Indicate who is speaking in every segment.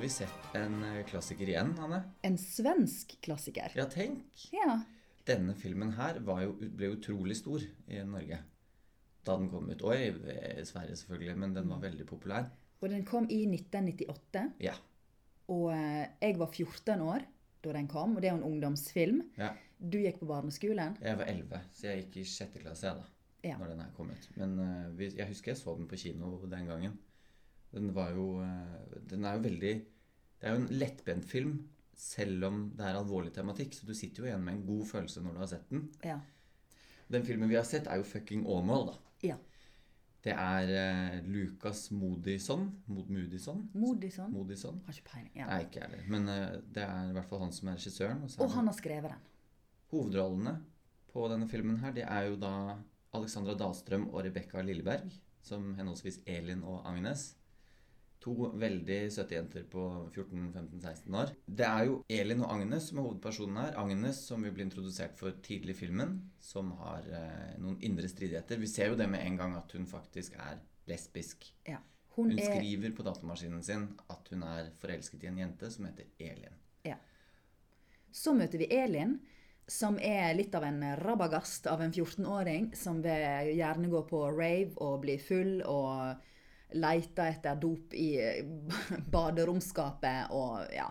Speaker 1: vi sett en eh, klassiker igjen, Hanne.
Speaker 2: En svensk klassiker.
Speaker 1: Ja, tenk.
Speaker 2: Ja.
Speaker 1: Denne filmen her var jo, ble utrolig stor i Norge da den kom ut. Og i i Sverige, selvfølgelig, men den var veldig populær.
Speaker 2: Og den kom i 1998.
Speaker 1: Ja.
Speaker 2: Og eh, jeg var 14 år da den kom, og det er jo en ungdomsfilm.
Speaker 1: ja.
Speaker 2: Du gikk på barneskolen.
Speaker 1: Jeg var 11, så jeg gikk i sjette klasse jeg, da
Speaker 2: Ja.
Speaker 1: når den her kom ut. Men eh, vi, jeg husker jeg så den på kino den gangen. Den var jo eh, Den er jo veldig Det er jo en lettbrent film, selv om det er alvorlig tematikk. Så du sitter jo igjen med en god følelse når du har sett den.
Speaker 2: Ja.
Speaker 1: Den filmen vi har sett, er jo fucking Åmål, da.
Speaker 2: ja.
Speaker 1: Det er eh, Lucas Modison. Mod Modison?
Speaker 2: Modig sånn.
Speaker 1: Modison?
Speaker 2: Har ikke peiling. Ja.
Speaker 1: Nei, ikke jeg heller. Men eh, det er i hvert fall han som er regissøren. Og så
Speaker 2: Og
Speaker 1: er
Speaker 2: han har skrevet den.
Speaker 1: Hovedrollene på denne filmen her, det er jo da Alexandra Dahlstrøm og Rebekka Lilleberg, som henholdsvis Elin og Agnes. To veldig søte jenter på 14-15-16 år. Det er jo Elin og Agnes som er hovedpersonen her. Agnes som vi blir introdusert for tidlig i filmen, som har eh, noen indre stridigheter. Vi ser jo det med en gang at hun faktisk er lesbisk.
Speaker 2: Ja.
Speaker 1: Hun
Speaker 2: Hun, er
Speaker 1: skriver på datamaskinen sin at hun er forelsket i en jente som heter Elin.
Speaker 2: ja. Så møter vi Elin, som er litt av en rabagast av en 14-åring, som vil gjerne gå på rave og bli full og leter etter dop i baderomskapet og ja.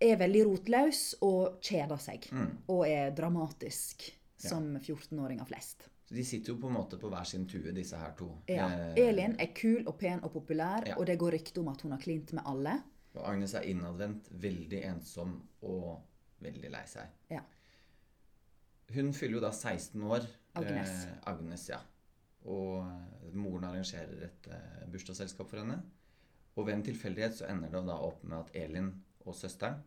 Speaker 2: Er veldig rotløs og kjeder seg.
Speaker 1: Mm.
Speaker 2: Og er dramatisk, som 14-åringer flest.
Speaker 1: Så de sitter jo på en måte på hver sin tue, disse her to.
Speaker 2: Ja.
Speaker 1: Eh,
Speaker 2: Elin er kul og pen og populær,
Speaker 1: Ja.
Speaker 2: og det går rykte om at hun har klint med alle.
Speaker 1: Og Agnes er innadvendt, veldig ensom og veldig lei seg.
Speaker 2: Ja.
Speaker 1: Hun fyller jo da 16 år.
Speaker 2: Agnes.
Speaker 1: Eh, Agnes, ja. Og eh, moren arrangerer et eh, bursdagsselskap for henne. Og ved en tilfeldighet så ender det da opp med at Elin og søsteren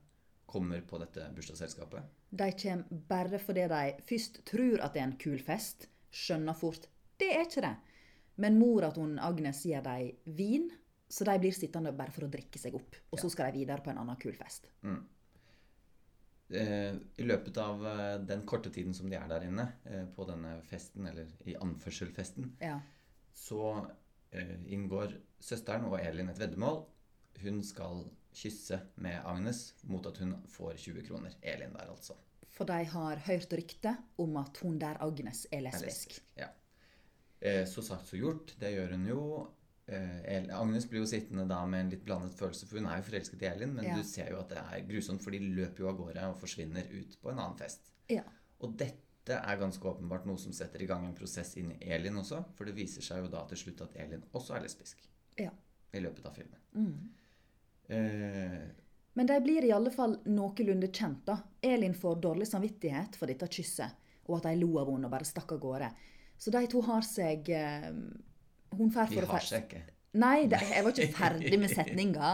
Speaker 1: kommer på dette bursdagsselskapet.
Speaker 2: De kommer bare fordi de først tror at det er en kul fest, skjønner fort det er ikke det. Men mora til hun Agnes gir dem vin, så de blir sittende bare for å drikke seg opp. Og så skal de videre på en annen kul fest.
Speaker 1: Eh, I løpet av eh, den korte tiden som de er der inne eh, på denne festen, eller i anførselfesten,
Speaker 2: Ja.
Speaker 1: så eh, inngår søsteren og Elin et veddemål. Hun skal kysse med Agnes mot at hun får 20 kroner. Elin der, altså.
Speaker 2: For de har hørt rykte om at hun der Agnes er
Speaker 1: Er
Speaker 2: lesbisk.
Speaker 1: Ja. Eh, så sagt så gjort. Det gjør hun jo. Eh, El- Agnes blir jo sittende da med en litt blandet følelse, for hun er jo forelsket i Elin, men
Speaker 2: Ja.
Speaker 1: du ser jo at det er grusomt, for de løper jo av gårde og forsvinner ut på en annen fest.
Speaker 2: Ja.
Speaker 1: Og dette er ganske åpenbart noe som setter i gang en prosess inni Elin også, for det viser seg jo da til slutt at Elin også er lesbisk.
Speaker 2: ja.
Speaker 1: i løpet av filmen.
Speaker 2: Mm.
Speaker 1: Eh,
Speaker 2: Men de blir i alle fall noenlunde kjent, da. Elin får dårlig samvittighet for dette kysset, og at de lo av henne og bare stakk av gårde. Så de to har seg eh, Hun drar
Speaker 1: de
Speaker 2: for å
Speaker 1: har
Speaker 2: fe-
Speaker 1: seg ikke.
Speaker 2: Nei, de, jeg var ikke ferdig med setninga.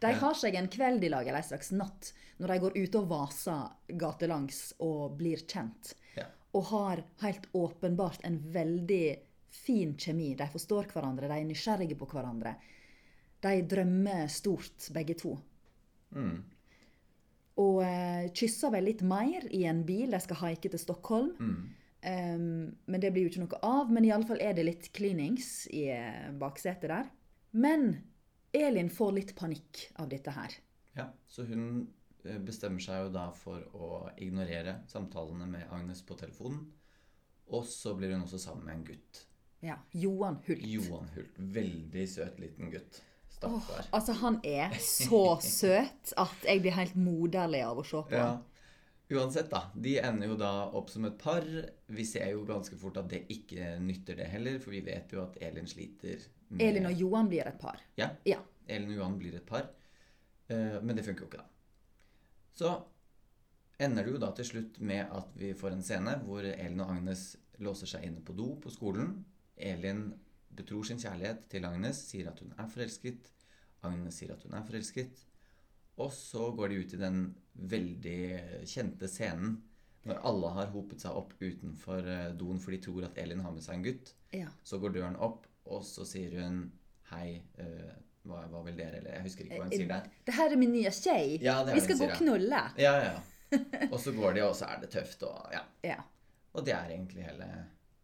Speaker 2: De har seg en kveld i lag, eller en slags natt, når de går ute og vaser gatelangs og blir kjent.
Speaker 1: Ja.
Speaker 2: Og har helt åpenbart en veldig fin kjemi. De forstår hverandre, de er nysgjerrige på hverandre. De drømmer stort, begge to.
Speaker 1: Mm.
Speaker 2: Og eh, kysser vel litt mer i en bil. De skal haike til Stockholm.
Speaker 1: Mm.
Speaker 2: Ehm, men det blir jo ikke noe av. Men iallfall er det litt klinings i eh, baksetet der. Men Elin får litt panikk av dette her.
Speaker 1: Ja, så hun eh, bestemmer seg jo da for å ignorere samtalene med Agnes på telefonen. Og så blir hun også sammen med en gutt.
Speaker 2: Ja, Johan Hult.
Speaker 1: Johan Hult. Veldig søt liten gutt.
Speaker 2: Åh,
Speaker 1: Stakkar.
Speaker 2: altså, han er så søt at jeg blir helt moderlig av å se på.
Speaker 1: Ja. Uansett, da. De ender jo da opp som et par. Vi ser jo ganske fort at det ikke nytter, det heller, for vi vet jo at Elin sliter med
Speaker 2: Elin og Johan blir et par.
Speaker 1: Ja,
Speaker 2: Ja.
Speaker 1: Elin og Johan blir et par. Eh, men det funker jo ikke, da. Så ender det jo da til slutt med at vi får en scene hvor Elin og Agnes låser seg inne på do på skolen. Elin betror sin kjærlighet til Agnes, sier at hun er forelsket. Agnes sier at hun er forelsket. Og så går de ut i den veldig kjente scenen når alle har hopet seg opp utenfor eh, doen, for de tror at Elin har med seg en gutt.
Speaker 2: ja.
Speaker 1: Så går døren opp, og så sier hun Hei, eh, hva, hva vil dere? Eller jeg husker ikke
Speaker 2: Eh,
Speaker 1: hva hun sier der.
Speaker 2: Det her er min nye skje.
Speaker 1: Ja, det er
Speaker 2: Vi
Speaker 1: det
Speaker 2: skal
Speaker 1: hun
Speaker 2: gå og
Speaker 1: sier,
Speaker 2: knulle.
Speaker 1: Ja, ja, ja. Og så går de, og så er det tøft, og ja.
Speaker 2: Ja.
Speaker 1: Og det er egentlig hele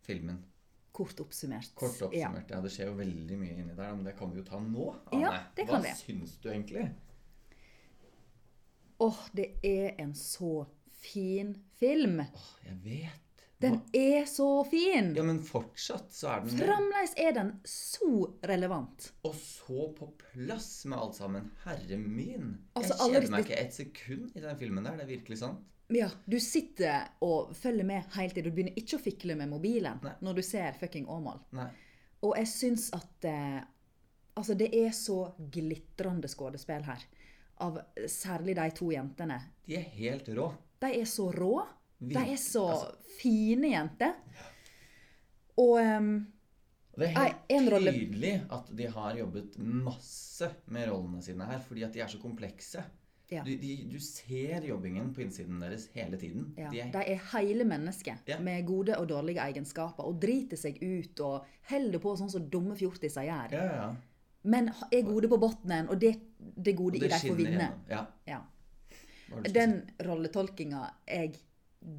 Speaker 1: filmen.
Speaker 2: Kort oppsummert.
Speaker 1: Kort
Speaker 2: Ja.
Speaker 1: oppsummert, ja. Det skjer jo veldig mye inni der, men det kan vi jo ta nå. Anne.
Speaker 2: Ja, det kan
Speaker 1: Hva
Speaker 2: vi.
Speaker 1: syns du egentlig?
Speaker 2: Åh, det er en så fin film.
Speaker 1: Åh, jeg vet.
Speaker 2: Den
Speaker 1: Hva-
Speaker 2: er så fin!
Speaker 1: Ja, men fortsatt så er den det.
Speaker 2: Fremdeles er den så relevant.
Speaker 1: Og så på plass med alt sammen. Herre min.
Speaker 2: Altså,
Speaker 1: jeg
Speaker 2: alle
Speaker 1: kjeder meg
Speaker 2: disse-
Speaker 1: ikke et sekund i den filmen der. Det er virkelig sant.
Speaker 2: Ja, Du sitter og følger med helt til du begynner ikke å fikle med mobilen
Speaker 1: Nei.
Speaker 2: når du ser fucking Åmål.
Speaker 1: Nei.
Speaker 2: Og jeg syns at eh, Altså, det er så glitrende skuespill her. Av særlig de to jentene.
Speaker 1: De er helt rå.
Speaker 2: De er så rå. De
Speaker 1: Virkelig,
Speaker 2: er så
Speaker 1: altså.
Speaker 2: fine jenter. Og ehm,
Speaker 1: Og Det er
Speaker 2: Nei,
Speaker 1: helt
Speaker 2: en rolle-
Speaker 1: tydelig at de har jobbet masse med rollene sine her, fordi at de er så komplekse.
Speaker 2: Ja.
Speaker 1: Du, de, du ser jobbingen på innsiden deres hele tiden.
Speaker 2: Ja,
Speaker 1: De er
Speaker 2: de er hele mennesker
Speaker 1: Ja.
Speaker 2: med gode og dårlige egenskaper og driter seg ut og holder på sånn som dumme fjortiser gjør.
Speaker 1: Ja, ja, ja.
Speaker 2: Men ha- er gode på bunnen, og det, det
Speaker 1: Og
Speaker 2: gode i dem får
Speaker 1: skinner
Speaker 2: vinne.
Speaker 1: gjennom. Ja,
Speaker 2: Ja.
Speaker 1: hva var det du skulle
Speaker 2: Den rolletolkinga jeg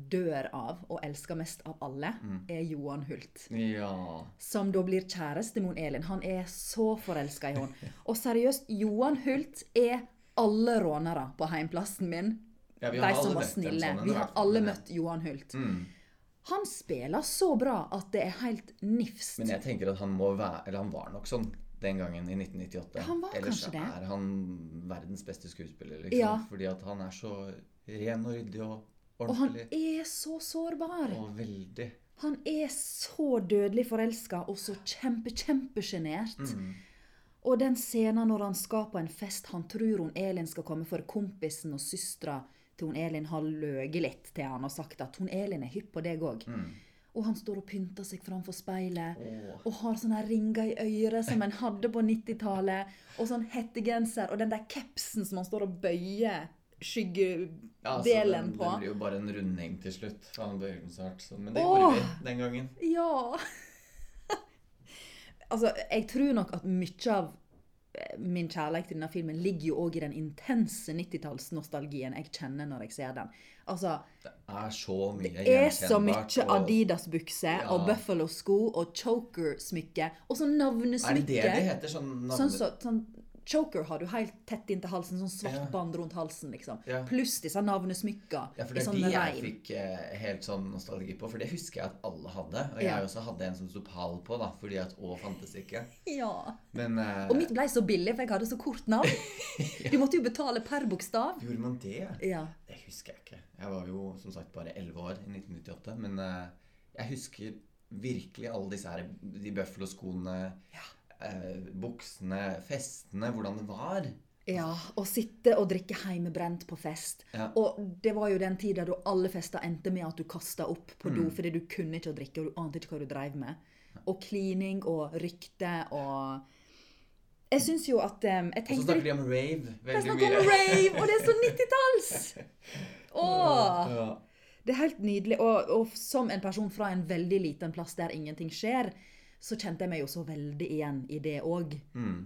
Speaker 2: dør av og elsker mest av alle,
Speaker 1: Mm.
Speaker 2: er Johan Hult.
Speaker 1: si? Ja.
Speaker 2: Som da blir kjæreste med hun Elin. Han er så forelska i henne. Og seriøst, Johan Hult er alle rånere på heimplassen min.
Speaker 1: Ja, vi har
Speaker 2: de
Speaker 1: alle
Speaker 2: som var
Speaker 1: møtt dem
Speaker 2: snille.
Speaker 1: sånn, i
Speaker 2: Vi
Speaker 1: hvert
Speaker 2: har
Speaker 1: fall,
Speaker 2: alle
Speaker 1: men ja.
Speaker 2: møtt Johan Hult.
Speaker 1: Mm.
Speaker 2: Han spiller så bra at det er helt nifst.
Speaker 1: Men jeg tenker at han må være Eller han var nok sånn den gangen i 1998.
Speaker 2: Han var
Speaker 1: Ellers
Speaker 2: kanskje det.
Speaker 1: er han verdens beste skuespiller, liksom.
Speaker 2: Ja.
Speaker 1: Fordi at han er så ren og ryddig og
Speaker 2: Og han
Speaker 1: ordentlig.
Speaker 2: er så sårbar.
Speaker 1: Og veldig
Speaker 2: Han er så dødelig forelska og så kjempe, kjempesjenert.
Speaker 1: Mm.
Speaker 2: Og den scenen når han skal på en fest, han tror hun Elin skal komme for kompisen og søstera til hun Elin har løyet litt til han og sagt at hun Elin er hypp på deg òg.
Speaker 1: Mm.
Speaker 2: Og han står og pynter seg framfor speilet
Speaker 1: Åh.
Speaker 2: og har sånne ringer i øret som en hadde på 90-tallet, og sånn hettegenser og den der capsen som han står og bøyer skyggedelen
Speaker 1: Ja, altså, den,
Speaker 2: på.
Speaker 1: Den blir jo bare en runding til slutt. for Han bøyer den så hardt. Så, men det
Speaker 2: Åh.
Speaker 1: gjorde vi den gangen.
Speaker 2: Ja Altså, jeg tror nok at mye av eh, min kjærlighet til denne filmen ligger jo òg i den intense 90-tallsnostalgien jeg kjenner når jeg ser den. Altså,
Speaker 1: Det er så mye
Speaker 2: det er så
Speaker 1: gjenkjennbart,
Speaker 2: mye
Speaker 1: og-
Speaker 2: Adidas-bukser og
Speaker 1: Ja.
Speaker 2: Buffalo-sko og choker-smykke og sånn
Speaker 1: Er det det
Speaker 2: navnesmykke.
Speaker 1: det heter? Sånn navne...
Speaker 2: Sånn så, sånn, choker har du helt tett inntil halsen, sånn svart
Speaker 1: Ja.
Speaker 2: band rundt halsen, liksom.
Speaker 1: Ja.
Speaker 2: Pluss disse navnesmykka
Speaker 1: Ja, for
Speaker 2: i
Speaker 1: det er
Speaker 2: sånn
Speaker 1: de jeg
Speaker 2: reim.
Speaker 1: fikk eh, helt sånn nostalgi på, for det husker jeg at alle hadde. Og jeg
Speaker 2: Ja.
Speaker 1: også hadde en som sto pal på, da, fordi at Å fantes ikke.
Speaker 2: Ja.
Speaker 1: Men eh,
Speaker 2: Og mitt ble så billig, for jeg hadde så kort navn. Du måtte jo betale per bokstav.
Speaker 1: gjorde man det?
Speaker 2: Ja.
Speaker 1: Det husker jeg ikke. Jeg var jo som sagt bare 11 år i 1998, men eh, jeg husker virkelig alle disse her De Buffalo-skoene, eh, buksene, festene, hvordan det var.
Speaker 2: ja. Og sitte og drikke heimebrent på fest.
Speaker 1: Ja.
Speaker 2: Og det var jo den tida da alle fester endte med at du kasta opp på
Speaker 1: Mm.
Speaker 2: do fordi du kunne ikke å drikke, og du ante ikke hva du dreiv med. Og klining og rykte og Jeg syns jo at eh,
Speaker 1: Og
Speaker 2: Jeg
Speaker 1: så
Speaker 2: tenkte
Speaker 1: snakker de om rave
Speaker 2: Det er
Speaker 1: veldig
Speaker 2: snakk om
Speaker 1: mye.
Speaker 2: rave, og det er så 90-talls! Åh,
Speaker 1: Ja.
Speaker 2: Det er helt nydelig. Og, og som en person fra en veldig liten plass der ingenting skjer, så kjente jeg meg jo så veldig igjen i det òg.
Speaker 1: Mm.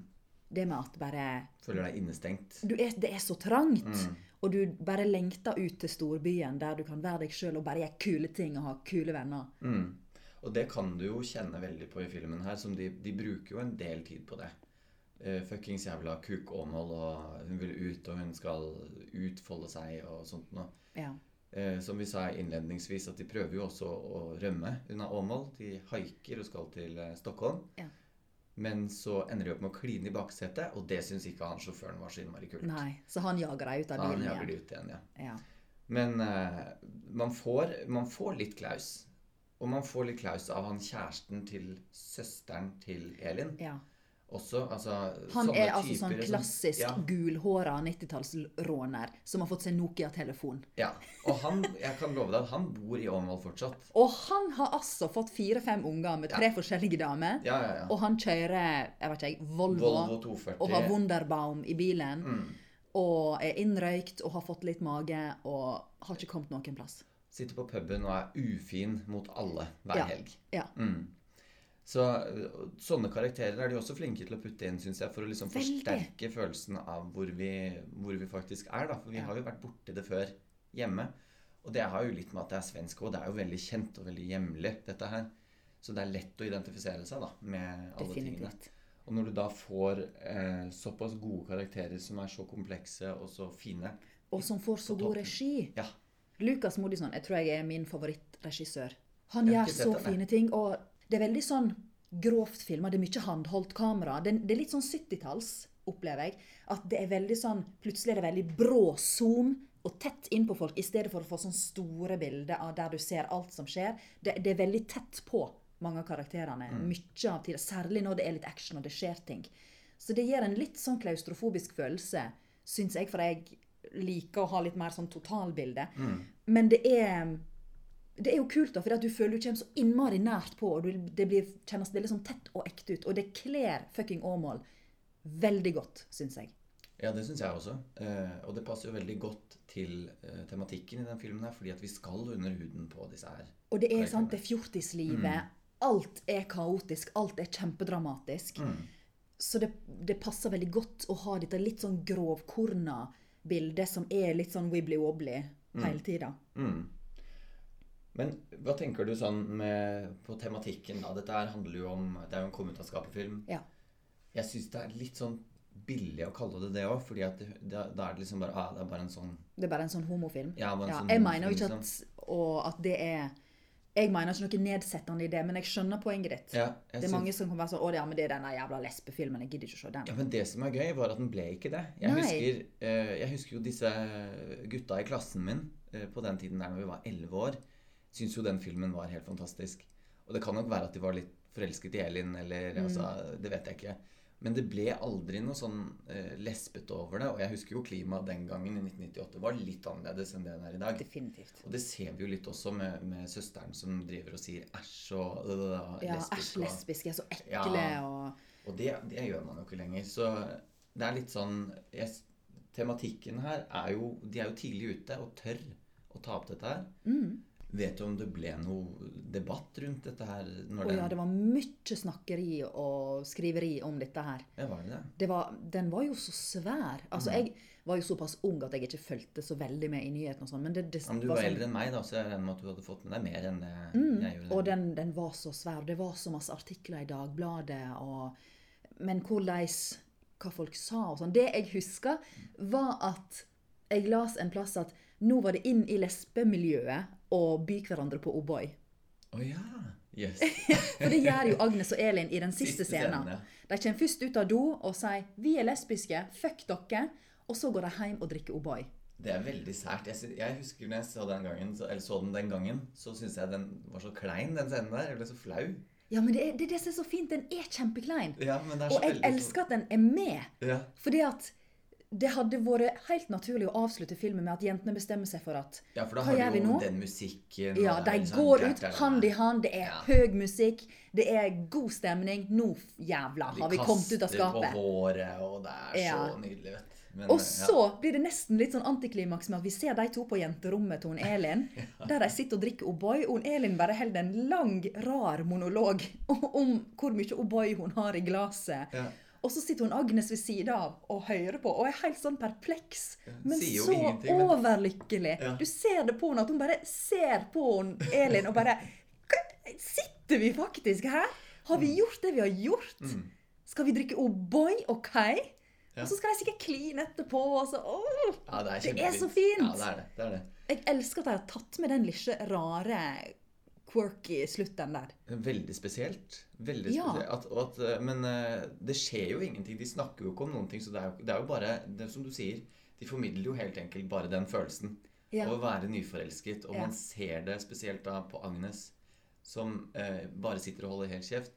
Speaker 2: Det med at bare
Speaker 1: Føler deg innestengt.
Speaker 2: du er, Det er så trangt.
Speaker 1: Mm.
Speaker 2: Og du bare lengter ut til storbyen, der du kan være deg sjøl og bare gjøre kule ting og ha kule venner.
Speaker 1: Mm. Og det kan du jo kjenne veldig på i filmen her, som de, de bruker jo en del tid på det. Eh, fuckings jævla kukåmål, og hun vil ut, og hun skal utfolde seg og sånt noe.
Speaker 2: Ja.
Speaker 1: Eh, som vi sa innledningsvis, at de prøver jo også å rømme unna Åmål. De haiker og skal til eh, Stockholm.
Speaker 2: Ja.
Speaker 1: Men så ender de opp med å kline i baksetet, og det syns ikke han sjåføren var så innmari kult.
Speaker 2: Nei, så han jager deg ut av
Speaker 1: han
Speaker 2: bilen
Speaker 1: jager
Speaker 2: igjen.
Speaker 1: de ut igjen, ja.
Speaker 2: Ja.
Speaker 1: Men eh, man, får, man får litt klaus. Og man får litt klaus av han kjæresten til søsteren til Elin
Speaker 2: Ja.
Speaker 1: også. Altså,
Speaker 2: Han
Speaker 1: sånne
Speaker 2: er altså sånn
Speaker 1: typer som-
Speaker 2: klassisk
Speaker 1: ja,
Speaker 2: gulhåra 90-tallsråner som har fått seg Nokia-telefon.
Speaker 1: ja. Og han, jeg kan love deg at han bor i Åmål fortsatt.
Speaker 2: Og han har altså fått fire-fem unger med tre forskjellige damer.
Speaker 1: Ja, ja, ja.
Speaker 2: Og han kjører jeg vet ikke, Volvo,
Speaker 1: Volvo 240.
Speaker 2: og har Wunderbaum i bilen.
Speaker 1: Mm.
Speaker 2: Og er innrøykt og har fått litt mage og har ikke kommet noen plass.
Speaker 1: Sitter på puben og er ufin mot alle hver
Speaker 2: Ja.
Speaker 1: helg.
Speaker 2: Ja.
Speaker 1: Mm. Så øh, sånne karakterer er de også flinke til å putte inn, syns jeg, for å liksom
Speaker 2: Veldig.
Speaker 1: forsterke følelsen av hvor vi, hvor vi faktisk er, da. For vi
Speaker 2: Ja.
Speaker 1: har jo vært borti det før hjemme. Og det har jo litt med at det er svensk òg. Det er jo veldig kjent og veldig hjemlig, dette her. Så det er lett å identifisere seg da, med alle tingene.
Speaker 2: Definitivt.
Speaker 1: Og når du da får eh, såpass gode karakterer som er så komplekse og så fine
Speaker 2: Og som får så
Speaker 1: På
Speaker 2: god
Speaker 1: toppen.
Speaker 2: regi.
Speaker 1: Ja.
Speaker 2: Lucas Modisson jeg tror jeg er min favorittregissør. Han
Speaker 1: Jeg har
Speaker 2: gjør
Speaker 1: ikke sett
Speaker 2: så
Speaker 1: den, jeg.
Speaker 2: fine ting. Og det er veldig sånn grovt filma. Det er mye håndholdt kamera. Det, det er litt sånn 70-talls, opplever jeg. At det er veldig sånn Plutselig er det veldig brå zoom og tett inn på folk, i stedet for å få sånn store bilder av der du ser alt som skjer. Det, det er veldig tett på mange av karakterene. Mye av tida. Særlig når det er litt action og det skjer ting. Så det gir en litt sånn klaustrofobisk følelse, syns jeg, for jeg liker å ha litt mer sånn totalbilde. Men det er det er jo kult, da, for du føler du kommer så innmari nært på, og du, det blir, kjennes veldig sånn tett og ekte ut. Og det kler fucking Åmål veldig godt, syns jeg.
Speaker 1: Ja, det syns jeg også. Eh, og det passer jo veldig godt til eh, tematikken i den filmen her, fordi at vi skal under huden på disse her.
Speaker 2: Og det er
Speaker 1: Korrekt.
Speaker 2: sant, det er fjortislivet.
Speaker 1: Mm.
Speaker 2: Alt er kaotisk, alt er kjempedramatisk. Så det, det passer veldig godt å ha dette litt sånn grovkorna bildet som er litt sånn wibbly-wobbly hele tida.
Speaker 1: Mm. Men hva tenker du sånn med, på tematikken? da? Dette her handler jo om Det er jo en komme ut av skapet-film.
Speaker 2: Ja.
Speaker 1: Jeg syns det er litt sånn billig å kalle det det òg, fordi at det, da, da er det liksom bare ah, Det er bare en sånn
Speaker 2: Det er bare en sånn homofilm.
Speaker 1: Ja, bare en
Speaker 2: Ja,
Speaker 1: sånn
Speaker 2: jeg
Speaker 1: homofilm,
Speaker 2: mener jo ikke at, og at det er Jeg mener ikke noe nedsettende i det, men jeg skjønner poenget ditt.
Speaker 1: ja, jeg
Speaker 2: Det er
Speaker 1: syns-
Speaker 2: mange som kan være sånn 'Å, ja, men det er denne jævla lesbefilmen. Jeg gidder ikke å se den'.
Speaker 1: Ja, men det som er gøy, var at den ble ikke det. Jeg,
Speaker 2: Nei.
Speaker 1: husker, eh, jeg husker jo disse gutta i klassen min eh, på den tiden der når vi var 11 år, syntes jo den filmen var helt fantastisk. Og det kan nok være at de var litt forelsket i Elin,
Speaker 2: Mm.
Speaker 1: eller altså, det vet jeg ikke. Men det ble aldri noe sånn eh, lesbete over det. Og jeg husker jo klimaet den gangen i 1998 var litt annerledes enn det den er i dag.
Speaker 2: Definitivt.
Speaker 1: Og det ser vi jo litt også med, med søsteren som driver og sier æsj og øh,
Speaker 2: Ja,
Speaker 1: lesbisk
Speaker 2: æsj,
Speaker 1: og-
Speaker 2: lesbiske er så ekle
Speaker 1: Ja.
Speaker 2: og
Speaker 1: og det, det gjør man jo ikke lenger. Så det er litt sånn jeg, s- Tematikken her er jo De er jo tidlig ute og tør å ta opp dette her.
Speaker 2: Mm.
Speaker 1: Vet du om det ble noe debatt rundt dette her? Når
Speaker 2: Å
Speaker 1: den,
Speaker 2: ja, det var mye snakkeri og skriveri om dette her.
Speaker 1: ja, var det det?
Speaker 2: Det var, den var jo så svær.
Speaker 1: Mm.
Speaker 2: Altså, jeg var jo såpass ung at jeg ikke fulgte så veldig med i nyhetene og sånn, men det, det
Speaker 1: Ja, men du
Speaker 2: var
Speaker 1: var
Speaker 2: sånn-
Speaker 1: eldre enn meg, da, så jeg regner med at du hadde fått med deg mer enn det jeg gjorde.
Speaker 2: Mm, Og den, den var så svær. Det var så masse artikler i Dagbladet. Og, men hvordan Hva folk sa og sånn. Det jeg husker, var at jeg las en plass at nå var det inn i lesbemiljøet å by hverandre på O'boy.
Speaker 1: Å ja! Jøss.
Speaker 2: For det gjør jo Agnes og Elin i den siste,
Speaker 1: Siste scenen,
Speaker 2: scenen.
Speaker 1: ja.
Speaker 2: De kommer først ut av do og sier 'vi er lesbiske, fuck dere', og så går de hjem og drikker O'boy.
Speaker 1: Det er veldig sært. Jeg, sy- jeg husker når jeg så den gangen, så, eller så den den gangen, så syntes jeg den var så klein, den scenen der. Jeg ble så flau.
Speaker 2: Ja, men det er det, er det som er så fint. Den er kjempeklein.
Speaker 1: Ja, men det er så
Speaker 2: Og jeg
Speaker 1: veldig
Speaker 2: elsker at den er med.
Speaker 1: sånn ja.
Speaker 2: Fordi at det hadde vært helt naturlig å avslutte filmen med at jentene bestemmer seg for at
Speaker 1: Ja, for da
Speaker 2: Hva
Speaker 1: har
Speaker 2: gjør
Speaker 1: du
Speaker 2: vi
Speaker 1: jo
Speaker 2: nå?
Speaker 1: den musikken og
Speaker 2: ja,
Speaker 1: det
Speaker 2: de
Speaker 1: er liksom
Speaker 2: går
Speaker 1: jack,
Speaker 2: ut
Speaker 1: jack, jack.
Speaker 2: hand i hand, det er
Speaker 1: Ja.
Speaker 2: høy musikk, det er god stemning. Nå, f- jævla,
Speaker 1: De
Speaker 2: har vi kommet ut av
Speaker 1: kaster
Speaker 2: skapet.
Speaker 1: på håret, og det er
Speaker 2: Ja.
Speaker 1: så nydelig, vet du. Men, eh,
Speaker 2: Og så blir det nesten litt sånn antiklimaks med at vi ser de to på jenterommet til hun Elin, der de sitter og drikker O'boy, og hun Elin bare holder en lang, rar monolog om hvor mye O'boy hun har i glasset.
Speaker 1: ja.
Speaker 2: Og så sitter hun Agnes ved siden av og hører på og er helt sånn perpleks. Men
Speaker 1: sier jo
Speaker 2: så
Speaker 1: ingenting, men-
Speaker 2: overlykkelig.
Speaker 1: Ja.
Speaker 2: Du ser det på henne at hun bare ser på hun, Elin og bare "Hva- Sitter vi faktisk her? Har
Speaker 1: Mm.
Speaker 2: vi gjort det vi har gjort? Skal vi drikke O'boy? OK?
Speaker 1: Ja.
Speaker 2: Og så skal de sikkert kline etterpå. Og så, åh!
Speaker 1: ja, det er
Speaker 2: Det er
Speaker 1: kjempefint.
Speaker 2: så
Speaker 1: Ja,
Speaker 2: fint!
Speaker 1: det er det. det, er det.
Speaker 2: Jeg elsker at de har tatt med den lille rare, quirky slutten der.
Speaker 1: Veldig spesielt. Veldig
Speaker 2: Ja.
Speaker 1: spesielt. At, og at, eh, men eh, det skjer jo ingenting. De snakker jo ikke om noen ting. Så det er jo, det er jo bare det er som du sier, de formidler jo helt enkelt bare den følelsen.
Speaker 2: Ja.
Speaker 1: Å være nyforelsket. Og
Speaker 2: Ja.
Speaker 1: man ser det spesielt da på Agnes, som eh, bare sitter og holder helt kjeft.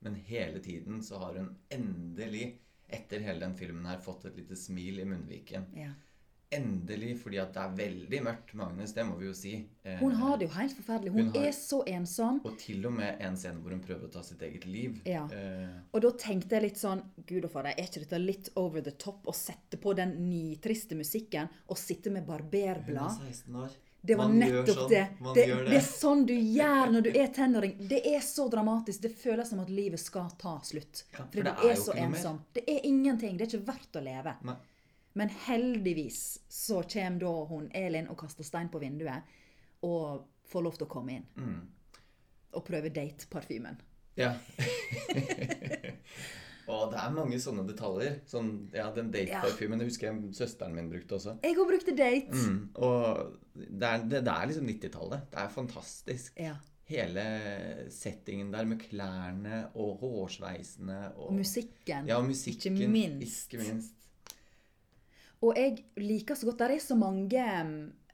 Speaker 1: Men hele tiden så har hun endelig, etter hele den filmen her, fått et lite smil i munnviken.
Speaker 2: Ja.
Speaker 1: Endelig, fordi at det er veldig mørkt med Agnes, det må vi jo si. Eh,
Speaker 2: Hun har det jo helt forferdelig. Hun,
Speaker 1: Hun har-
Speaker 2: er så ensom.
Speaker 1: og til og med en scene hvor hun prøver å ta sitt eget liv.
Speaker 2: Ja.
Speaker 1: Eh,
Speaker 2: Og da tenkte jeg litt sånn Gud og fader, er ikke dette litt over the top å sette på den nitriste musikken og sitte med
Speaker 1: hun er
Speaker 2: barberblad?
Speaker 1: 16 år.
Speaker 2: Det var
Speaker 1: Man gjør
Speaker 2: nettopp
Speaker 1: sånn.
Speaker 2: det.
Speaker 1: Man
Speaker 2: Det,
Speaker 1: gjør
Speaker 2: det
Speaker 1: det.
Speaker 2: er sånn du gjør når du er tenåring. Det er så dramatisk. Det føles som at livet skal ta slutt.
Speaker 1: Ja, for
Speaker 2: Fordi
Speaker 1: det
Speaker 2: du
Speaker 1: er
Speaker 2: er
Speaker 1: jo
Speaker 2: så
Speaker 1: ikke noe mer.
Speaker 2: ensom. Det er ingenting. Det er ikke verdt å leve.
Speaker 1: Nei.
Speaker 2: Men heldigvis så kommer da hun Elin og kaster stein på vinduet og får lov til å komme inn. å prøve date-parfymen.
Speaker 1: mm. Ja. og det er mange sånne detaljer. Sånn, ja, den date-parfymen det husker jeg søsteren min brukte også.
Speaker 2: Jeg òg brukte date.
Speaker 1: Mm, og det er, det, det er liksom 90-tallet. Det er fantastisk.
Speaker 2: Ja.
Speaker 1: Hele settingen der med klærne og hårsveisene og,
Speaker 2: Og musikken.
Speaker 1: Ja, og musikken.
Speaker 2: Ikke minst.
Speaker 1: Ikke minst.
Speaker 2: Og jeg liker så godt Der er så mange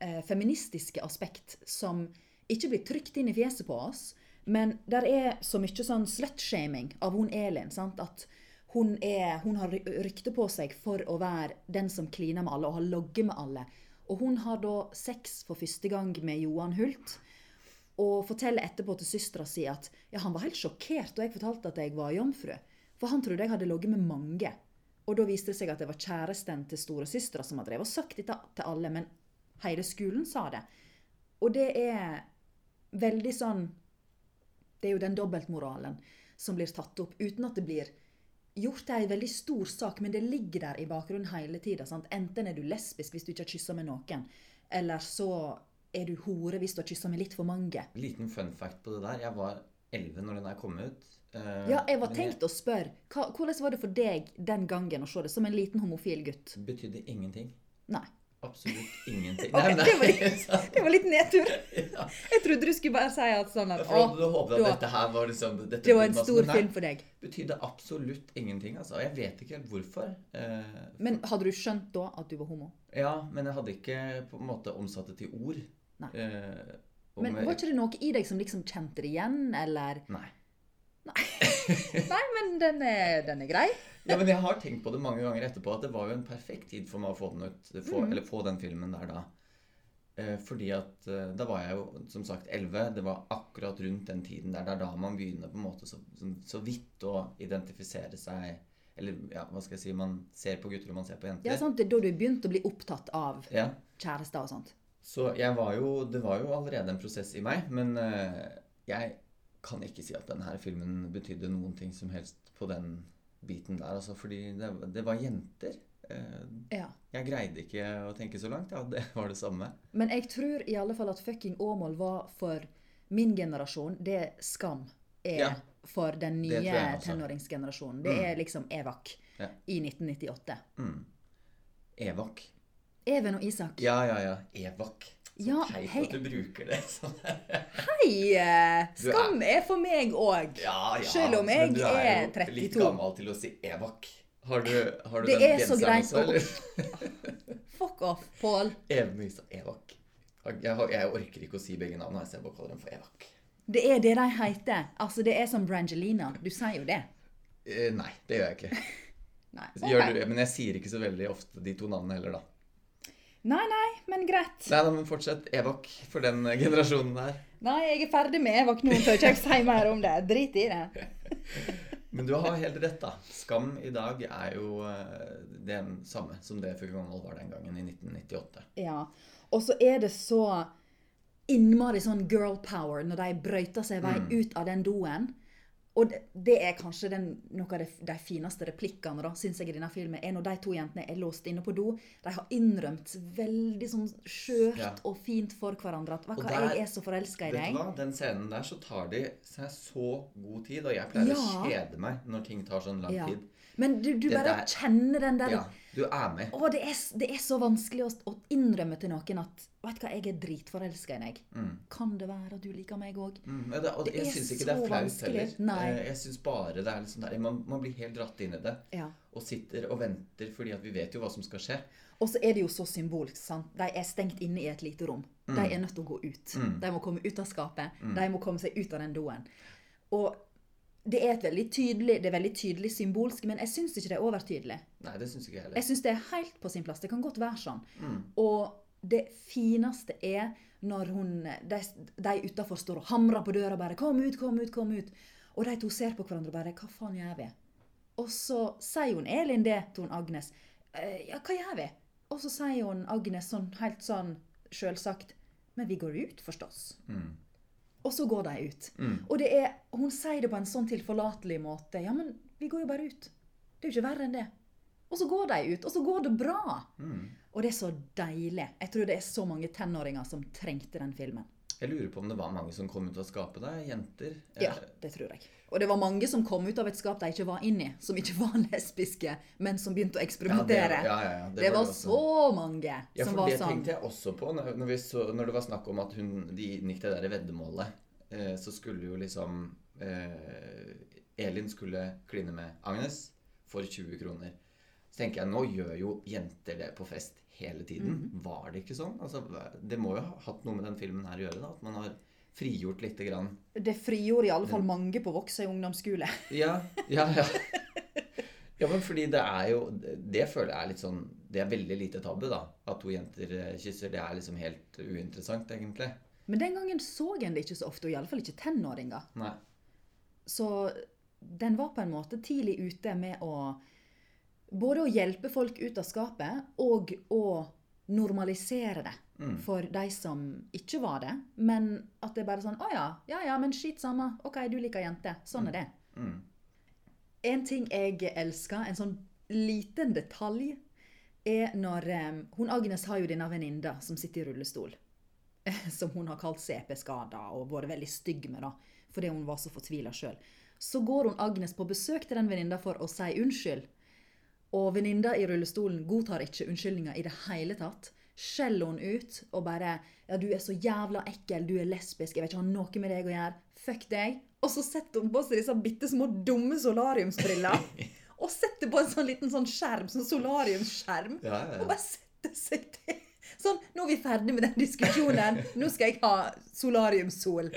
Speaker 2: eh, feministiske aspekt som ikke blir trykt inn i fjeset på oss. Men der er så mye sånn slutshaming av hun Elin. sant? At hun, er, hun har ry- rykte på seg for å være den som kliner med alle og har logget med alle. Og hun har da sex for første gang med Johan Hult. Og forteller etterpå til søstera si at ja, han var helt sjokkert da jeg fortalte at jeg var jomfru. For han trodde jeg hadde ligget med mange. Og da viste det seg at det var kjæresten til storesøstera som hadde drevet og sagt dette til alle, men hele skolen sa det. Og det er veldig sånn Det er jo den dobbeltmoralen som blir tatt opp, uten at det blir gjort til ei veldig stor sak, men det ligger der i bakgrunnen hele tida. Enten er du lesbisk hvis du ikke har kyssa med noen, eller så er du hore hvis du har kyssa med litt for mange.
Speaker 1: Liten fun fact på det der. Jeg var 11 når den her kom ut. Eh,
Speaker 2: Ja, jeg var
Speaker 1: men
Speaker 2: tenkt å spørre hva, hvordan var det for deg den gangen å se det som en liten homofil gutt?
Speaker 1: Det betydde ingenting.
Speaker 2: Nei.
Speaker 1: Absolutt ingenting.
Speaker 2: Ok, det var
Speaker 1: litt
Speaker 2: Det var litt nedtur.
Speaker 1: ja.
Speaker 2: Jeg trodde du skulle bare si at sånn at
Speaker 1: For jeg hadde
Speaker 2: «Å,
Speaker 1: håpet
Speaker 2: du
Speaker 1: at
Speaker 2: har-
Speaker 1: dette her var liksom dette
Speaker 2: det var
Speaker 1: blir
Speaker 2: en
Speaker 1: masse,
Speaker 2: stor
Speaker 1: men nei,
Speaker 2: film for deg.
Speaker 1: betydde absolutt ingenting, altså. Og Jeg vet ikke helt hvorfor. Eh,
Speaker 2: Men hadde du skjønt da at du var homo?
Speaker 1: ja, men jeg hadde ikke på en måte omsatt det til ord.
Speaker 2: Nei.
Speaker 1: Eh, og
Speaker 2: Men
Speaker 1: med-
Speaker 2: Var ikke det noe i deg som liksom kjente det igjen, eller
Speaker 1: Nei.
Speaker 2: Nei, men den er, den er grei.
Speaker 1: Ja, men jeg har tenkt på det mange ganger etterpå at det var jo en perfekt tid for meg å få den ut, få,
Speaker 2: Mm.
Speaker 1: eller få den filmen der da. Eh, fordi at eh, da var jeg jo som sagt 11. Det var akkurat rundt den tiden der. Det er da man begynner på en måte så, så, så vidt å identifisere seg Eller ja, hva skal jeg si Man ser på gutter og man ser på jenter.
Speaker 2: Ja, sånn. sant? Det er da du begynte å bli opptatt av
Speaker 1: Ja.
Speaker 2: kjærester og sånt.
Speaker 1: Så jeg var jo Det var jo allerede en prosess i meg, men eh, jeg kan ikke si at denne filmen betydde noen ting som helst på den biten der, altså. Fordi det, det var jenter. Eh,
Speaker 2: Ja.
Speaker 1: jeg greide ikke å tenke så langt. Ja, det var det samme.
Speaker 2: Men jeg tror i alle fall at fucking Åmål var for min generasjon det skam er
Speaker 1: Ja.
Speaker 2: for den
Speaker 1: Det tror
Speaker 2: nye
Speaker 1: jeg også. Mm.
Speaker 2: tenåringsgenerasjonen. Det er liksom Evak
Speaker 1: Ja.
Speaker 2: i 1998.
Speaker 1: Evak.
Speaker 2: Even og Isak.
Speaker 1: Ja, ja, ja. Evak. Så
Speaker 2: Ja,
Speaker 1: teit
Speaker 2: hei.
Speaker 1: at du bruker det. sånn.
Speaker 2: Hei! eh,
Speaker 1: Du er-
Speaker 2: Skam er for meg òg.
Speaker 1: Ja, ja.
Speaker 2: Selv om jeg
Speaker 1: men du er,
Speaker 2: er
Speaker 1: jo litt
Speaker 2: 32.
Speaker 1: gammel til å si Evak. Har du, har du
Speaker 2: Det
Speaker 1: den
Speaker 2: er så
Speaker 1: genseren
Speaker 2: greit
Speaker 1: også,
Speaker 2: å-
Speaker 1: eller?
Speaker 2: Fuck off, Pål.
Speaker 1: Even og Isak. Evak. Jeg, har- jeg orker ikke å si begge navnene, så jeg bare kaller dem for Evak.
Speaker 2: Det er det de heter. Altså, det er som Brangelina. Du sier jo det.
Speaker 1: Eh, nei, det gjør jeg ikke.
Speaker 2: Nei,
Speaker 1: Gjør
Speaker 2: ok.
Speaker 1: du, men jeg sier ikke så veldig ofte de to navnene heller, da.
Speaker 2: nei, nei, men greit.
Speaker 1: Nei, da, men fortsett. Evak for den eh, generasjonen der.
Speaker 2: Nei, jeg er ferdig med Evak nå. Tør ikke jeg si mer om det. Drit i det.
Speaker 1: Men du har helt rett, da. Skam i dag er jo eh, den samme som det Fuki Gammel var den gangen i 1998.
Speaker 2: Ja. Og så er det så innmari sånn girl power når de brøyter seg vei
Speaker 1: Mm.
Speaker 2: ut av den doen. Og det, det er kanskje den, noe av de, de fineste replikkene da, synes jeg i denne filmen, er når de to jentene er låst inne på do. De har innrømt veldig sånn skjørt
Speaker 1: Ja.
Speaker 2: og fint for hverandre at
Speaker 1: Og
Speaker 2: hva,
Speaker 1: der-
Speaker 2: jeg er så forelska i
Speaker 1: Vet du
Speaker 2: deg.
Speaker 1: hva? Den scenen der så tar de seg så god tid, og jeg pleier å
Speaker 2: Ja.
Speaker 1: kjede meg når ting tar sånn lang
Speaker 2: Ja.
Speaker 1: tid.
Speaker 2: Men du, du
Speaker 1: Det
Speaker 2: bare
Speaker 1: der-
Speaker 2: kjenner den der
Speaker 1: Ja, du er med.
Speaker 2: Å, det er, s- det er så vanskelig å, s- å innrømme til noen at Vet du hva, jeg er dritforelska i deg. Kan det være at du liker meg òg?
Speaker 1: Mm, men det, og
Speaker 2: Det
Speaker 1: jeg
Speaker 2: er
Speaker 1: syns ikke det
Speaker 2: så
Speaker 1: er flaut
Speaker 2: vanskelig.
Speaker 1: heller.
Speaker 2: Nei.
Speaker 1: Eh, Jeg syns bare det er liksom der, man, man blir helt dratt inn i det.
Speaker 2: Ja.
Speaker 1: Og sitter og venter fordi at vi vet jo hva som skal skje.
Speaker 2: Og så er det jo så symbolsk. sant? De er stengt inne i et lite rom. De er nødt til å gå ut. De må komme ut av skapet. De må komme seg ut av den doen. Og det er et veldig tydelig, det er veldig tydelig symbolsk, men jeg syns ikke det er overtydelig.
Speaker 1: Nei, det syns ikke jeg
Speaker 2: Jeg
Speaker 1: heller.
Speaker 2: syns det er helt på sin plass. Det kan godt være sånn.
Speaker 1: Mm,
Speaker 2: Og det fineste er når hun, de, de utafor står og hamrer på døra og bare 'Kom ut, kom ut, kom ut.' Og de to ser på hverandre og bare 'Hva faen gjør vi?' Og så sier hun Elin det til hun Agnes. «Eh, 'Ja, hva gjør vi?' Og så sier hun Agnes sånn helt sånn sjølsagt 'Men vi går ut, forstås'.
Speaker 1: mm,
Speaker 2: Og så går de ut. Og det er, hun sier det på en sånn tilforlatelig måte. Ja, men vi går jo bare ut. Det er jo ikke verre enn det. Og så går de ut, og så går det
Speaker 1: mm.
Speaker 2: bra. Og det er så deilig. Jeg tror det er så mange tenåringer som trengte den filmen.
Speaker 1: Jeg lurer på om det var mange som kom ut av skapet der. Jenter.
Speaker 2: Ja,
Speaker 1: Eh,
Speaker 2: det tror jeg. Og det var mange som kom ut av et skap de ikke var inni, som ikke var lesbiske, men som begynte å
Speaker 1: ja, det,
Speaker 2: eksperimentere.
Speaker 1: ja, ja, ja,
Speaker 2: det, var
Speaker 1: også.
Speaker 2: så mange
Speaker 1: Ja,
Speaker 2: som
Speaker 1: for
Speaker 2: var
Speaker 1: det
Speaker 2: sånn.
Speaker 1: tenkte jeg også på når, når, vi så, når det var snakk om at hun de inngikk det der veddemålet. Eh, så skulle jo liksom eh, Elin skulle kline med Agnes for 20 kroner. Så tenker jeg, nå gjør jo jenter det på fest hele tiden.
Speaker 2: Mhm.
Speaker 1: Var det ikke sånn? Altså, hva- det må jo ha hatt noe med den filmen her å gjøre, da. At man har frigjort lite grann.
Speaker 2: Det frigjorde i alle
Speaker 1: Mm.
Speaker 2: fall mange på Voksa i ungdomsskole.
Speaker 1: Ja, ja, ja. Ja, men fordi det er jo Det føler jeg er litt sånn Det er veldig lite tabu, da. At to jenter eh, kysser. Det er liksom helt uinteressant, egentlig.
Speaker 2: Men den gangen så en det ikke så ofte, og iallfall ikke tenåringer.
Speaker 1: Nei.
Speaker 2: Så den var på en måte tidlig ute med å både å hjelpe folk ut av skapet og å normalisere det
Speaker 1: Mm.
Speaker 2: for de som ikke var det. Men at det er bare sånn Å ja, ja ja, men skit samme. OK, du liker jenter. Sånn er det.
Speaker 1: Mm.
Speaker 2: En ting jeg elsker, en sånn liten detalj, er når eh, hun Agnes har jo denne venninna som sitter i rullestol. Som hun har kalt CP-skada og vært veldig stygg med, da. Fordi hun var så fortvila sjøl. Så går hun Agnes på besøk til den venninna for å si unnskyld. Og venninna i rullestolen godtar ikke unnskyldninga i det hele tatt. Skjeller hun ut og bare 'Ja, du er så jævla ekkel. Du er lesbisk. Jeg vil ikke ha noe med deg å gjøre. Fuck deg.' Og så setter hun på seg disse bitte små dumme solariumsbrillene. og setter på en sånn liten sånn skjerm, sånn solariumsskjerm.
Speaker 1: Ja, ja,
Speaker 2: Og
Speaker 1: ja.
Speaker 2: bare setter seg til. Sånn, nå er vi ferdig med den diskusjonen. Nå skal jeg ha solariumssol.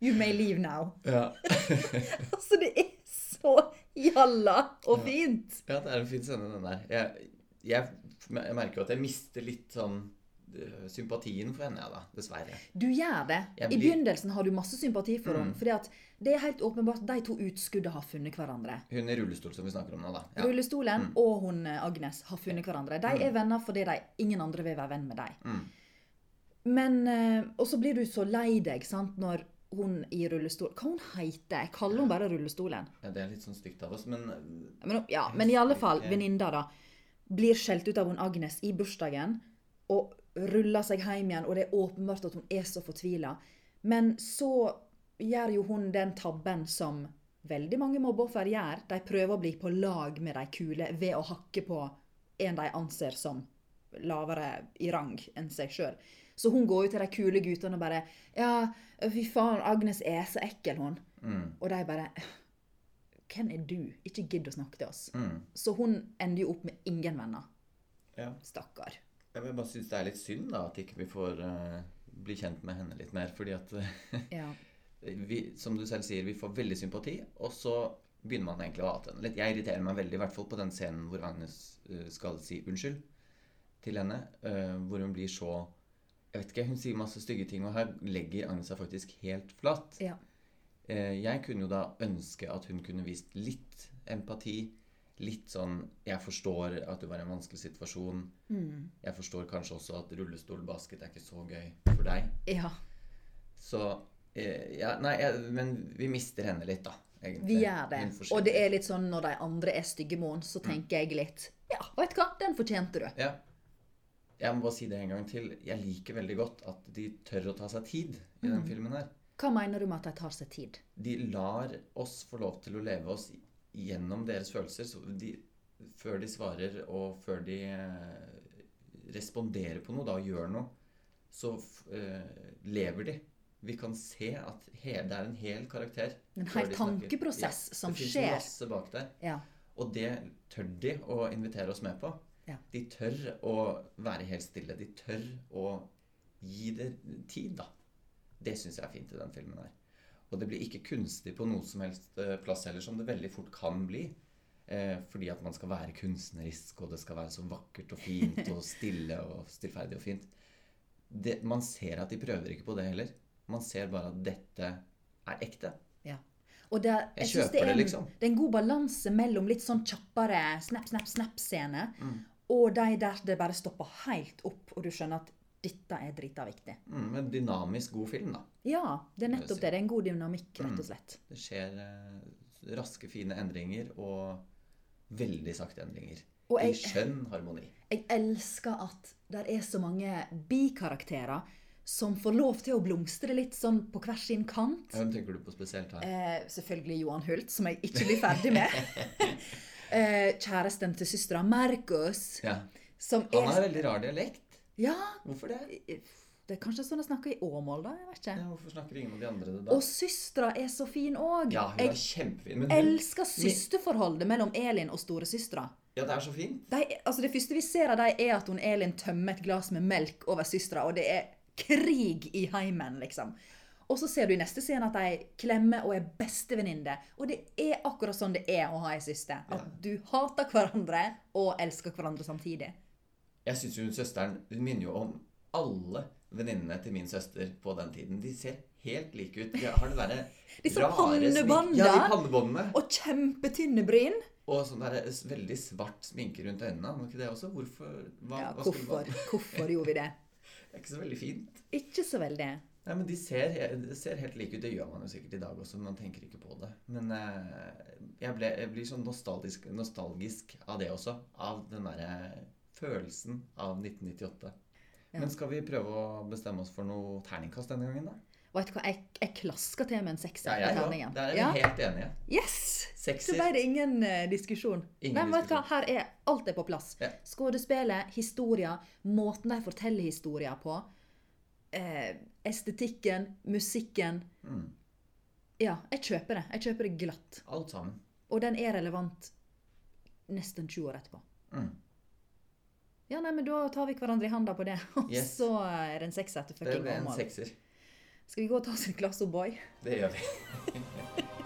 Speaker 2: You may leave now.
Speaker 1: ja.
Speaker 2: Altså, det er så jalla og fint.
Speaker 1: ja det er en fin scene, den der. Jeg, jeg, jeg merker jo at jeg mister litt sånn eh, sympatien for henne, jeg, da. Dessverre.
Speaker 2: Du gjør det.
Speaker 1: Jeg
Speaker 2: I
Speaker 1: blir-
Speaker 2: begynnelsen har du masse sympati for
Speaker 1: Mm.
Speaker 2: henne. fordi at det er helt åpenbart de to utskuddene har funnet hverandre.
Speaker 1: Hun i rullestol som vi snakker om nå, da. Ja. Mm.
Speaker 2: Rullestolen og hun eh, Agnes har funnet hverandre. De er venner fordi de, ingen andre vil være venn med dem.
Speaker 1: Mm.
Speaker 2: Men, eh, Og så blir du så lei deg sant, når hun i rullestol Hva hun heter Jeg kaller hun bare rullestolen.
Speaker 1: ja, det er litt sånn stygt av oss, men eh,
Speaker 2: Men, ja, men i alle fall,
Speaker 1: Ok.
Speaker 2: venninna da, blir skjelt ut av hun Agnes i bursdagen, og ruller seg hjem igjen, og det er åpenbart at hun er så fortvila. Men så gjør jo hun den tabben som veldig mange mobbeoffer gjør. De prøver å bli på lag med de kule ved å hakke på en de anser som lavere i rang enn seg sjøl. Så hun går jo til de kule guttene og bare Ja, fy faen, Agnes er så ekkel, hun.
Speaker 1: mm,
Speaker 2: Og de bare Hvem er du? Ikke gidd å snakke til oss.
Speaker 1: mm.
Speaker 2: Så hun ender jo opp med ingen venner.
Speaker 1: Ja.
Speaker 2: Stakkar.
Speaker 1: Jeg vil bare synes det er litt synd, da, at ikke vi får eh, bli kjent med henne litt mer. Fordi at eh,
Speaker 2: Ja.
Speaker 1: vi, som du selv sier, vi får veldig sympati, og så begynner man egentlig å hate henne litt. Jeg irriterer meg veldig, i hvert fall på den scenen hvor Agnes eh, skal si unnskyld til henne, eh, hvor hun blir så Jeg vet ikke, hun sier masse stygge ting, og her legger Agnes seg faktisk helt flatt.
Speaker 2: ja.
Speaker 1: Eh, jeg kunne jo da ønske at hun kunne vist litt empati. Litt sånn 'Jeg forstår at du var i en vanskelig situasjon'.
Speaker 2: Mm.
Speaker 1: Jeg forstår kanskje også at rullestolbasket er ikke så gøy for deg.
Speaker 2: ja.
Speaker 1: Så eh, ja, Nei, jeg, men vi mister henne litt, da. Egentlig.
Speaker 2: Vi gjør det.
Speaker 1: Hun forsvinner.
Speaker 2: Og det er litt sånn når de andre er stygge med henne, så
Speaker 1: Mm.
Speaker 2: tenker jeg litt Ja, veit du hva, den fortjente du.
Speaker 1: Ja. Jeg må bare si det en gang til. Jeg liker veldig godt at de tør å ta seg tid i
Speaker 2: Mm.
Speaker 1: den filmen her.
Speaker 2: Hva mener du med at de tar seg tid?
Speaker 1: De lar oss få lov til å leve oss gjennom deres følelser så de, før de svarer og før de eh, responderer på noe, da og gjør noe. Så f- eh, lever de. Vi kan se at he, det er en hel karakter.
Speaker 2: En
Speaker 1: før
Speaker 2: hel
Speaker 1: de snakker.
Speaker 2: tankeprosess som
Speaker 1: det finnes
Speaker 2: skjer.
Speaker 1: masse bak der.
Speaker 2: Ja.
Speaker 1: Og det tør de å invitere oss med på.
Speaker 2: Ja.
Speaker 1: De tør å være helt stille. De tør å gi det tid, da. Det syns jeg er fint i den filmen her. Og det blir ikke kunstig på noe som helst eh, plass heller, som det veldig fort kan bli. Eh, fordi at man skal være kunstnerisk, og det skal være så vakkert og fint og stille og stillferdig og fint. Det, man ser at de prøver ikke på det heller. Man ser bare at dette er ekte.
Speaker 2: ja. Og det, jeg,
Speaker 1: Jeg
Speaker 2: synes det,
Speaker 1: kjøper
Speaker 2: er
Speaker 1: det,
Speaker 2: en,
Speaker 1: liksom.
Speaker 2: det er en god balanse mellom litt sånn kjappere snap, snap, snap-scene,
Speaker 1: Mm.
Speaker 2: og de der det bare stopper helt opp, og du skjønner at dette er drita viktig.
Speaker 1: Mm, men dynamisk god film, da.
Speaker 2: Ja, det er
Speaker 1: vil
Speaker 2: nettopp
Speaker 1: si. Mm.
Speaker 2: det. Det er en god dynamikk, rett og slett.
Speaker 1: Det skjer eh, raske, fine endringer og veldig sakte endringer.
Speaker 2: Og
Speaker 1: I
Speaker 2: jeg-
Speaker 1: skjønn harmoni.
Speaker 2: Jeg elsker at det er så mange bikarakterer som får lov til å blomstre litt sånn på hver sin kant.
Speaker 1: Hvem tenker du på spesielt her?
Speaker 2: Eh, selvfølgelig Johan Hult, som jeg ikke blir ferdig med. eh, kjæresten til søstera Markus,
Speaker 1: Ja.
Speaker 2: som
Speaker 1: Han
Speaker 2: er
Speaker 1: har veldig rar dialekt.
Speaker 2: Ja,
Speaker 1: Hvorfor det?
Speaker 2: det er kanskje sånn å snakke i Åmål, da. jeg vet ikke.
Speaker 1: Ja, hvorfor snakker ingen av de andre det da?
Speaker 2: Og søstera er så fin òg.
Speaker 1: Ja, hun er
Speaker 2: jeg
Speaker 1: kjempefin. Men hun,
Speaker 2: elsker søsterforholdet mellom Elin og storesøstera.
Speaker 1: ja, det er så fint.
Speaker 2: De, altså det første vi ser av dem, er at hun Elin tømmer et glass med melk over søstera, og det er krig i heimen, liksom. Og så ser du i neste scene at de klemmer og er bestevenninner. Og det er akkurat sånn det er å ha ei søster. At du hater hverandre og elsker hverandre samtidig.
Speaker 1: Jeg syns jo søsteren hun minner jo om alle venninnene til min søster på den tiden. De ser helt like ut. De har det derre
Speaker 2: Disse
Speaker 1: rare smink-
Speaker 2: pannebånda.
Speaker 1: Ja, de pannebåndene.
Speaker 2: Og kjempetynne bryn.
Speaker 1: Og sånn der s- veldig svart sminke rundt øynene. Var ikke det også? Hvorfor? Hva,
Speaker 2: Ja,
Speaker 1: hva skulle man-
Speaker 2: hvorfor? Hvorfor gjorde vi det?
Speaker 1: Det er ikke så veldig fint.
Speaker 2: Ikke så veldig.
Speaker 1: Nei, men de ser, he- de ser helt like ut. Det gjør man jo sikkert i dag også, men man tenker ikke på det. Men eh, jeg, ble, jeg blir sånn nostalgisk, nostalgisk av det også. Av den derre følelsen av 1998.
Speaker 2: Ja.
Speaker 1: Men skal vi prøve å bestemme oss for noe terningkast denne gangen, da?
Speaker 2: Vet du hva, jeg, jeg klasker til med en sekser
Speaker 1: Ja,
Speaker 2: på
Speaker 1: jeg òg.
Speaker 2: terningen.
Speaker 1: Der er vi
Speaker 2: Ja.
Speaker 1: helt enige.
Speaker 2: Yes! Så
Speaker 1: Sekser.
Speaker 2: ble det ingen eh, diskusjon.
Speaker 1: Ingen
Speaker 2: Nei, men vet du hva? Her er alt er på plass.
Speaker 1: Ja.
Speaker 2: Skuespillet, historier, måten de forteller historier på, eh, estetikken, musikken.
Speaker 1: Mm.
Speaker 2: Ja, jeg kjøper det. Jeg kjøper det glatt.
Speaker 1: Alt sammen.
Speaker 2: Og den er relevant nesten 20 år etterpå.
Speaker 1: Mm.
Speaker 2: Ja, nei, men da tar vi hverandre i handa på det, og
Speaker 1: Yes.
Speaker 2: så er det en sekser til
Speaker 1: Det
Speaker 2: fucking
Speaker 1: ble en
Speaker 2: Åmål.
Speaker 1: sekser.
Speaker 2: Skal vi gå og ta oss en glass O'boy?
Speaker 1: Det gjør vi.